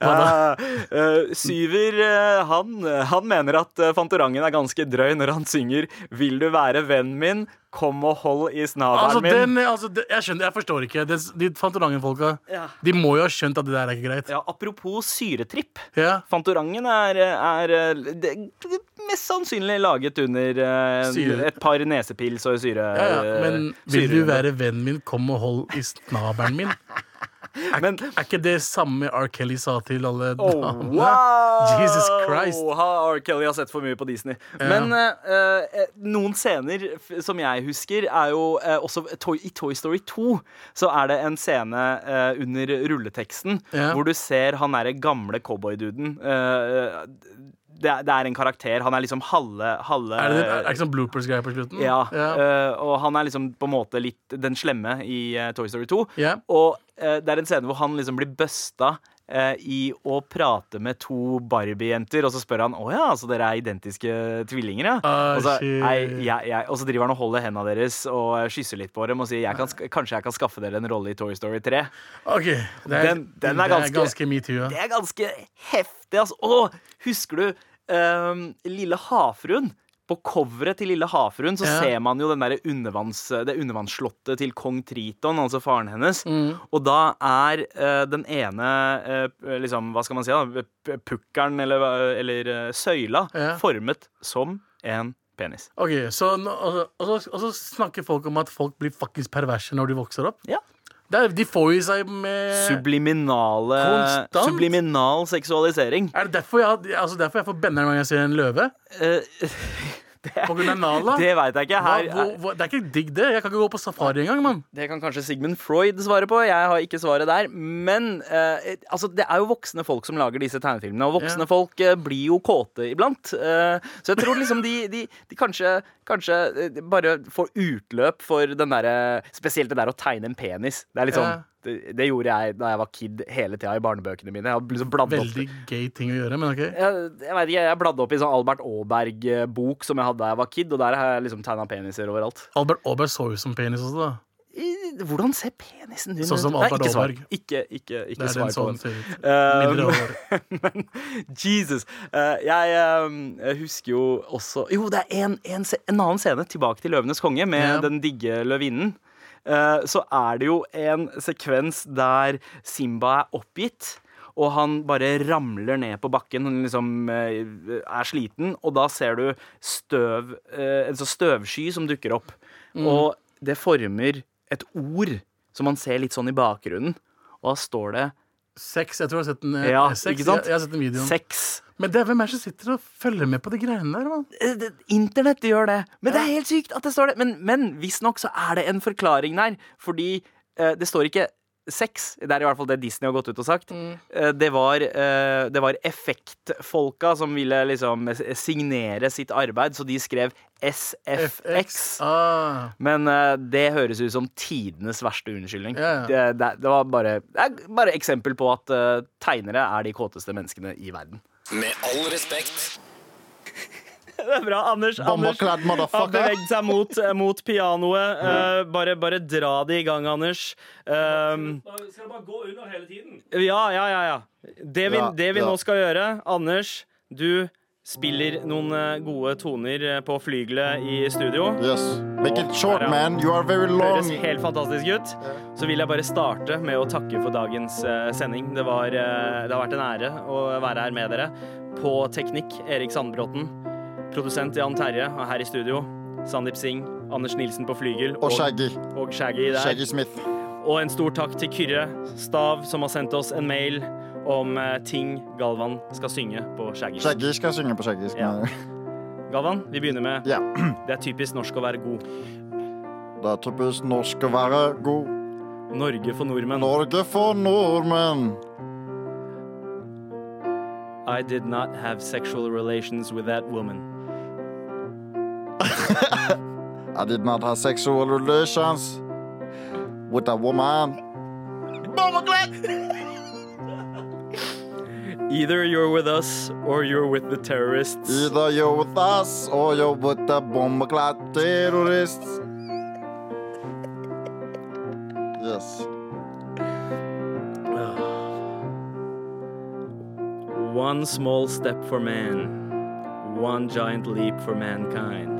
Eh, eh, Syver, eh, han, han mener at eh, Fantorangen er ganske drøy når han synger 'Vil du være vennen min, kom og hold i snabelen Altså, min'. den, altså, det- jeg skjønner, jeg forstår ikke. Det, de Fantorangen-folka Ja. De må jo ha skjønt at det der er ikke greit. Ja, Apropos syretripp. Ja. Fantorangen er, er, er det, det mest sannsynlig laget under eh, Syre. et par nesepils og syre... Ja, ja. Men vil du være vennen min, kom og hold i snabelen min. Er, er ikke det samme R. Kelly sa til alle Oh, damene? wow! Jesus Christ. Ha, R. Kelly har sett for mye på Disney. Ja. Men eh, eh, noen scener f- som jeg husker, er jo eh, også Toy, I Toy Story 2 så er det en scene eh, under rulleteksten Ja. hvor du ser han derre gamle cowboyduden. eh, det, er- det er en karakter. Han er liksom halve, halve Er det er det ikke sånn bloopers-greie på slutten? ja, eh, og han er liksom på en måte litt den slemme i eh, Toy Story 2. Ja. Og eh, det er en scene hvor han liksom blir busta eh, i å prate med to Barbie-jenter, og så spør han å ja, så dere er identiske tvillinger, ja? Ah, og, så, shit. «Nei, jeg, jeg, og så driver han og holder hendene deres og eh, kysser litt på dem og sier jeg kan, sk- kanskje jeg kan skaffe dere en rolle i Toy Story 3. Ok, det er, Den- den er det ganske- er ganske metoo. Ja. Det er ganske heftig, altså. Å, husker du ehm, Lille havfruen? På coveret til Lille havfruen så Ja. ser man jo den der undervanns, det undervannsslottet til kong Triton, altså faren hennes. Mm. Og da er eh, den ene eh, liksom, Hva skal man si, da? p- Pukkelen, eller, hva- eller eh, søyla, Ja. formet som en penis. Ok, så, nå- og, så- og, så, og så snakker folk om at folk blir fuckings perverse når de vokser opp. Ja. Det er, de får jo seg med Subliminale Konstant? Subliminal seksualisering. Er det derfor jeg, har- altså derfor jeg får benner når jeg ser en løve? på grunn av Nala? det vet jeg ikke. Her- Eh, hva, hvor, hvor, det er ikke digg, det. Jeg kan ikke gå på safari engang, mann. Det kan kanskje Sigmund Freud svare på. Jeg har ikke svaret der. Men eh, altså, det er jo voksne folk som lager disse tegnefilmene, og voksne Ja. folk eh, blir jo kåte iblant. Eh, så jeg tror liksom de, de, de kanskje, kanskje eh, bare får utløp for den derre Spesielt det der å tegne en penis. Det er litt sånn Ja. det, det gjorde jeg da jeg var kid hele tida i barnebøkene mine. Jeg hadde liksom bladd opp Veldig gay ting å gjøre, men OK. jeg, jeg vet ikke, jeg bladde opp i sånn Albert Aaberg-bok som jeg hadde da jeg var kid, og der har jeg liksom tegna peniser overalt. Albert Aaberg så ut som penis også, da. I- Hvordan ser penisen din Sånn ut? som Nei, Alfred ikke svar. Aaberg. Ikke, ikke, ikke Det er svar den på sånn den. ser ut. Eh, Mindre men Jesus. Eh, jeg, ehm, eh, jeg husker jo også Jo, det er en, en, se- en annen scene, tilbake til 'Løvenes konge', med Ja. den digge løvinnen. Eh, så er det jo en sekvens der Simba er oppgitt. og han bare ramler ned på bakken. Han liksom eh, er sliten, og da ser du støv, eh, en sånn støvsky som dukker opp. Mm. Og det former et ord som man ser litt sånn i bakgrunnen, og da står det Sex. Jeg tror jeg har sett den. eh, Ja, sex. ikke sant? Jeg, jeg har sett den videoen. Sex. Men det er hvem er det som sitter og følger med på de greiene der? Man? Eh, Internett gjør det. Men det er helt sykt at det står det. Men, men visstnok så er det en forklaring der, fordi eh, det står ikke sex. Det er i hvert fall det Disney har gått ut og sagt. Mm. Eh, det, var, eh, det var effektfolka som ville liksom eh, signere sitt arbeid, så de skrev SFX. Ah. Men eh, det høres ut som tidenes verste unnskyldning. Ja, Det, det, det var bare, det er bare eksempel på at eh, tegnere er de kåteste menneskene i verden. Med all respekt. Det er bra. Anders, Bomba Anders clad har motherfucker. beveget seg mot, eh, mot pianoet. Eh, bare, bare dra det i gang, Anders. Um, Skal det bare gå under hele tiden? ja, ja, ja. ja. Det vi, Ja, det vi ja. nå skal gjøre Anders, du spiller noen eh, gode toner eh, på flygelet i studio. Yes. Make it short, Ja, ja. man. You are very long. Høres helt fantastisk ut. Så vil jeg bare starte med å takke for dagens eh, sending. Det, var, eh, det har vært en ære å være her med dere. På teknikk, Erik Sandbråten. Produsent Jan Terje og her i studio. Sandeep Singh, Anders Nilsen på flygel. Og Shaggy. Og Shaggy der. Shaggy Smith. Og en stor takk til Kyrre Stav, som har sendt oss en mail om eh, ting Galvan skal synge på Shaggy. Shaggy skal synge på Shaggy. Ja. Galvan, vi begynner med Det er typisk norsk å være god. Det er typisk norsk å være god. Norge for nordmenn. Norge for nordmenn. I did not have sexual relations with that woman. I did not have sexual relations with a woman. Either you're with us or you're with the terrorists. Either you're with us or you're with the bomberclad terrorists. Yes. One small step for man, one giant leap for mankind.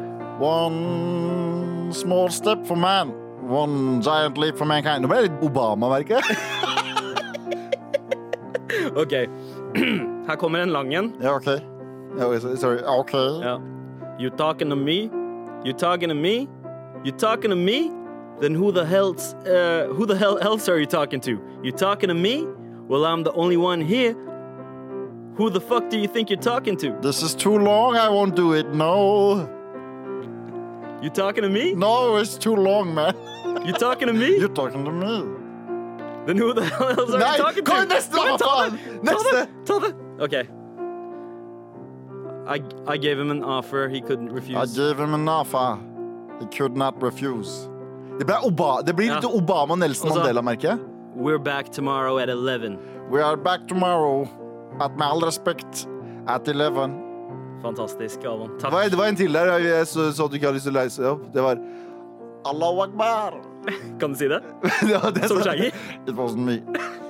One small step for man. One giant leap for mankind. eh? Nå ble det litt Obama, merker jeg. OK. Her kommer en lang en. Ja, OK. Ja, sorry. OK. Ja. You talking to me? You talking to me? You talking to me? Then who the hell's uh, who the hell else are you talking to? You talking to me? Well, I'm the only one here. Who the fuck do you think you're talking to? This is too long. I won't do it. No. You talking to me? No, it's too long, man. You talking to me? You're talking to me. Then who the hell else are Nei, you talking kom to? igjen, neste, Kom igjen, hva ta faen? det! Ta det! Ta det! Okay. I, I gave him an offer he couldn't I refuse. gave him an offer. He could not refuse. Det, ble Oba det blir litt Ja. Obama Nelson Og så- Mandela, merker jeg. We're back tomorrow at 11. We are back tomorrow. At med all respekt, at 11. Fantastisk, Galvan. Det Takk. var, det var en til der jeg- jeg så, så at du ikke hadde lyst til å leise deg opp. Det var Allahu akbar. Kan du si det? ja, det Som sa- Shaggy? It wasn't me.